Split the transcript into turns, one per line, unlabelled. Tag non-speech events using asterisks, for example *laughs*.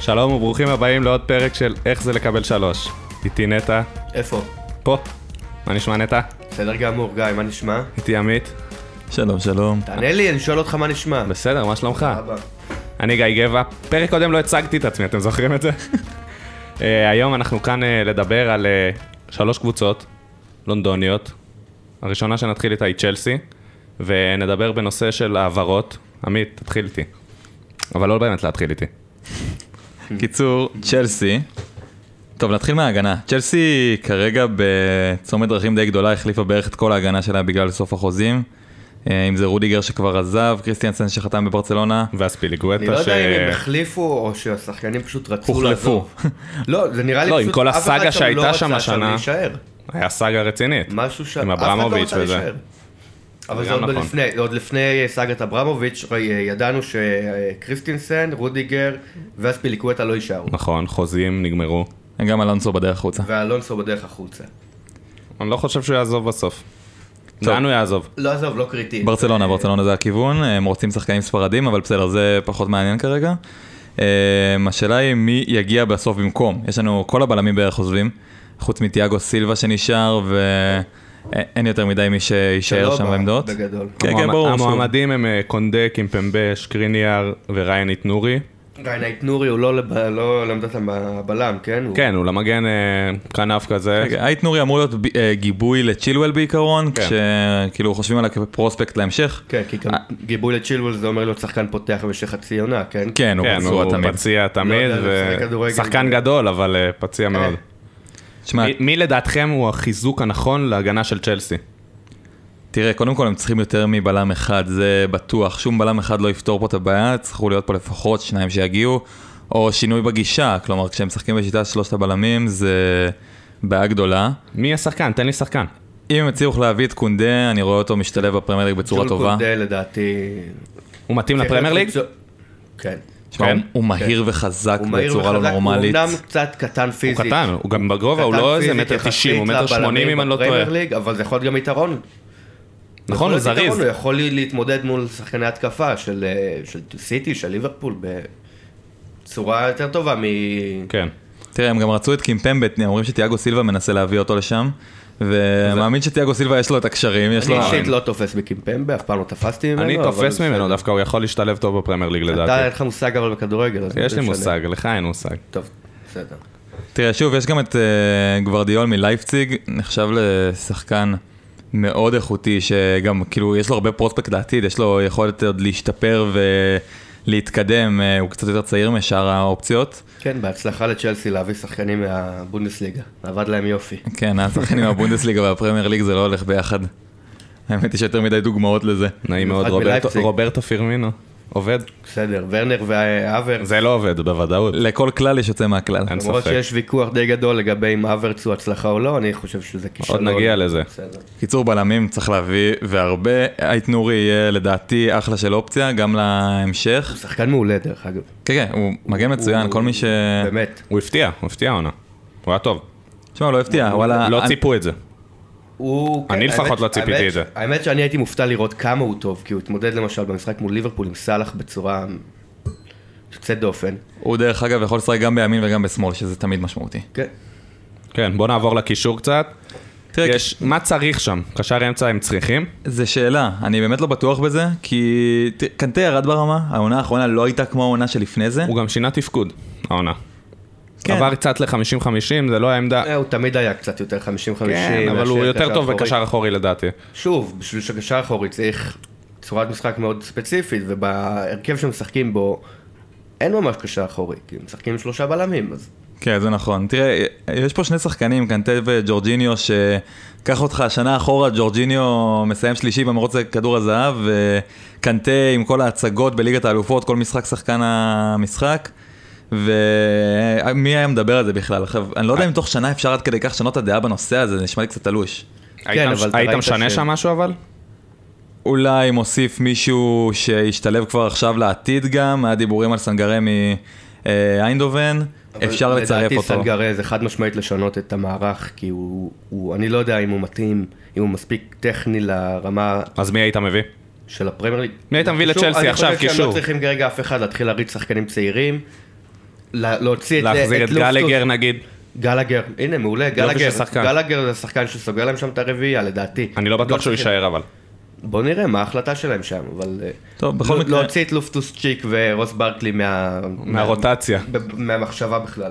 שלום וברוכים הבאים לעוד פרק של איך זה לקבל שלוש. איתי נטע,
איפה?
פה. מה נשמע נטע?
בסדר גמור, גיא, מה נשמע?
איתי עמית.
שלום, שלום.
תענה לי, אני שואל אותך מה נשמע.
בסדר, מה שלומך?
אבא.
אני גיא גבע. פרק קודם לא הצגתי את עצמי, אתם זוכרים את
*laughs*
זה? אה, היום אנחנו כאן אה, לדבר על אה, שלוש קבוצות לונדוניות. הראשונה שנתחיל איתה היא צ'לסי, ונדבר בנושא של העברות. עמית, תתחיל איתי. אבל לא באמת להתחיל איתי.
קיצור, צ'לסי. טוב, נתחיל מההגנה. צ'לסי כרגע בצומת דרכים די גדולה, החליפה בערך את כל ההגנה שלה בגלל סוף החוזים. אה, אם זה רודיגר שכבר עזב, קריסטיאנסן שחתם בברצלונה.
ואז
אני לא
פיליגואטה, ש...
יודע אם הם החליפו או שהשחקנים פשוט רצו
הוחלפו.
לעזוב. *laughs* לא, זה נראה לי
לא, עם
פשוט
כל
אף אחד
הסאגה
שם
שהייתה
לא
שם
רצה
השנה.
להישאר.
היה סאגה רצינית.
משהו ש...
עם
אף אחד לא
אברמוביץ'
רצה
וזה.
להישאר. אבל זה
גם
עוד
נכון.
לפני, עוד לפני סאגת אברמוביץ', ראי, ידענו שקריסטינסן, רודיגר ואספיליקווטה לא יישארו.
נכון, חוזים נגמרו.
גם אלונסו בדרך החוצה.
ואלונסו בדרך החוצה.
אני לא חושב שהוא יעזוב בסוף.
טוב.
לאן הוא יעזוב?
לא, עזוב, לא קריטי.
ברצלונה, ברצלונה זה הכיוון, הם רוצים שחקנים ספרדים, אבל בסדר, זה פחות מעניין כרגע. אמ, השאלה היא מי יגיע בסוף במקום. יש לנו, כל הבלמים בערך עוזבים, חוץ מתיאגו סילבה שנשאר, ואין יותר מדי מי שיישאר
שלא
שם
בא,
בעמדות.
לא בגדול.
כן, כן,
המועמד-
ברור. שהוא-
המועמדים הם אה, קונדה, קימפמבה, שקריניאר וריינית נורי.
ריינאית נורי הוא לא לב- לא לעמדת הבלם, כן? הוא-
כן, הוא למגן אה, כנף כזה.
רגע, אייט נורי אמור להיות ב- אה, גיבוי לצ'ילואל בעיקרון,
כן.
כשכאילו חושבים עליו כפרוספקט להמשך.
כן, כי גם
אה.
גיבוי לצ'ילוול זה אומר להיות שחקן פותח במשך חצי עונה, כן?
כן, הוא
כן,
פצוע
הוא
תמיד.
פציע תמיד,
יודע,
ו-
לשחק כדורגל.
שחקן גדול, אבל אה, פציע מאוד.
תשמע,
מי- מי לדעתכם הוא החיזוק הנכון להגנה של צ'לסי?
תראה, קודם כל הם צריכים יותר מבלם אחד, זה בטוח. שום בלם אחד לא יפתור פה את הבעיה, צריכו להיות פה לפחות שניים שיגיעו, או שינוי בגישה, כלומר, כשהם משחקים בשיטת שלושת הבלמים, זה בעיה גדולה.
מי השחקן? תן לי שחקן.
אם הם יצליחו להביא את קונדה, אני רואה אותו משתלב בפרמייר ליג בצורה
ג'ול
טובה.
קונדה לדעתי...
הוא מתאים לפרמייר ליג?
כן.
תשמע,
כן?
הוא- הוא מהיר וחזק
הוא מהיר
בצורה לא
וחזק, הוא
נורמלית.
אומנם קצת קטן
הוא
פיזית.
קטן, הוא גם בגובה, הוא
קטן
לא איזה
פיזית
מטר
יחסית
90, הוא מטר
לבלמים
80 אם אני לא טועה.
בפרמייר ליג, אבל זה יכול להיות גם יתרון.
נכון, הוא
יכול להיות יתרון,
זריז.
הוא לא יכול להתמודד מול שחקני התקפה של אה, של סיטי, של ליברפול, בצורה יותר טובה מ...
כן.
תראה, הם גם רצו את קימפמבט, הם אומרים שתיאגו סילבה מנסה להביא אותו לשם, ומאמין שתיאגו סילבה יש לו את הקשרים, יש
אני
לו...
אישית לא תופס בקימפמבה, אף פעם לא תפסתי ממנו.
אני
אבל
תופס
בסדר.
ממנו דווקא, הוא יכול להשתלב טוב בפרמייר ליג
אתה,
לדעתי.
אין לך מושג אבל בכדורגל. אז
יש
זה
לי
משנה.
מושג, לך אין מושג.
טוב, בסדר.
תראה, שוב, יש גם את אה, גוורדיול מלייפציג, נחשב לשחקן מאוד איכותי, שגם, כאילו, יש לו הרבה פרוספקט לעתיד, יש לו יכולת עוד להשתפר ולהתקדם, אה, הוא קצת יותר צעיר משאר האופציות.
כן, בהצלחה לצ'לסי להביא שחקנים מהבונדסליגה. עבד להם יופי.
כן, השחקנים מהבונדסליגה והפרמייר ליג זה לא הולך ביחד. האמת היא שיותר מדי דוגמאות לזה.
נעים מאוד,
במיוחד
רוברטו-
בלייפציג.
רוברטו פירמינו. עובד?
בסדר, ורנר והאברץ,
זה לא עובד,
אה,
בוודאות.
לכל כלל יש יוצא מהכלל.
אין
למרות
ספק.
שיש ויכוח די גדול לגבי אם אברץ הוא הצלחה או לא, אני חושב שזה
עוד
כישלון.
נגיע לזה.
בסדר.
קיצור בלמים צריך להביא, והרבה, אייט נורי יהיה לדעתי אחלה של אופציה, גם להמשך.
הוא שחקן מעולה דרך אגב.
כן, כן, הוא מגן מצוין,
הוא-
כל מי ש...
אה.
באמת.
הוא הפתיע, הוא הפתיע העונה. הוא היה טוב.
תשמע, הוא לא הפתיע,
אה,
וואלה.
לא
אני-
ציפו את זה.
הוא...
אני
כן,
לפחות
האמת-
לא ציפיתי
האמת-
את זה.
האמת שאני הייתי מופתע לראות כמה הוא טוב, כי הוא התמודד למשל במשחק מול ליברפול עם סאלח בצורה יוצאת דופן.
הוא דרך אגב יכול לשחק גם בימין וגם בשמאל, שזה תמיד משמעותי.
כן.
כן, בוא נעבור לקישור קצת.
תראה,
יש, מה צריך שם? קשר אמצע הם צריכים?
זה שאלה, אני באמת לא בטוח בזה, כי ת- קנטה ירד ברמה, העונה האחרונה לא הייתה כמו העונה שלפני זה.
הוא גם שינה תפקוד, העונה.
כן.
עבר קצת ל-50-50, זה לא העמדה.
אה, הוא תמיד היה קצת יותר 50-50.
כן, אבל הוא
מאשר
יותר
קשר
טוב
אחורי. כן,
בקשר אחורי לדעתי.
שוב, בשביל שקשר אחורי צריך צורת משחק מאוד ספציפית, ובהרכב שמשחקים בו אין ממש קשר אחורי, כי הם משחקים עם שלושה בלמים, אז
כן, זה נכון. תראה, יש פה שני שחקנים, קנטה וג'ורג'יניו, שקח אותך שנה אחורה, ג'ורג'יניו מסיים שלישי במרוץ כדור הזהב, וקנטה עם כל ההצגות בליגת האלופות, כל משחק שחקן המשחק. ומי היה מדבר על זה בכלל? עכשיו, אני לא יודע אם תוך שנה אפשר עד כדי כך לשנות את הדעה בנושא הזה, זה נשמע לי קצת תלוש.
היית
אבל אתה
היית
ראית
משנה
ש-
שם משהו אבל?
אולי מוסיף מישהו שישתלב כבר עכשיו לעתיד גם, היה דיבורים על סנגרי מאיינדובן,
אבל
אפשר לצרף
לדעתי
אותו.
סנגרי זה חד משמעית לשנות את המערך, כי הוא, הוא, אני לא יודע אם הוא מתאים, אם הוא מספיק טכני לרמה
אז מי היית מביא?
של הפרמייר ליג.
מי היית מביא
קישור,
לצ'לסי עכשיו,
אני חושב שהם
קישור?
לא צריכים כרגע אף אחד להתחיל להריץ שחקנים צעירים. לה- להוציא את
להחזיר את
לופטוס.
גלגר נגיד.
גלגר, הנה מעולה, גלגר,
של שחקן.
גלגר זה שחקן שסוגר להם שם את הרביעייה לדעתי.
אני לא בטוח שהוא
שחקן.
יישאר אבל.
בוא נראה מה ההחלטה שלהם שם, אבל... אה,
טוב, בכל
לא-
מקרה-
להוציא את לופטוס צ'יק ורוס ברקלי מה...
מהרוטציה.
ב- מהמחשבה בכלל.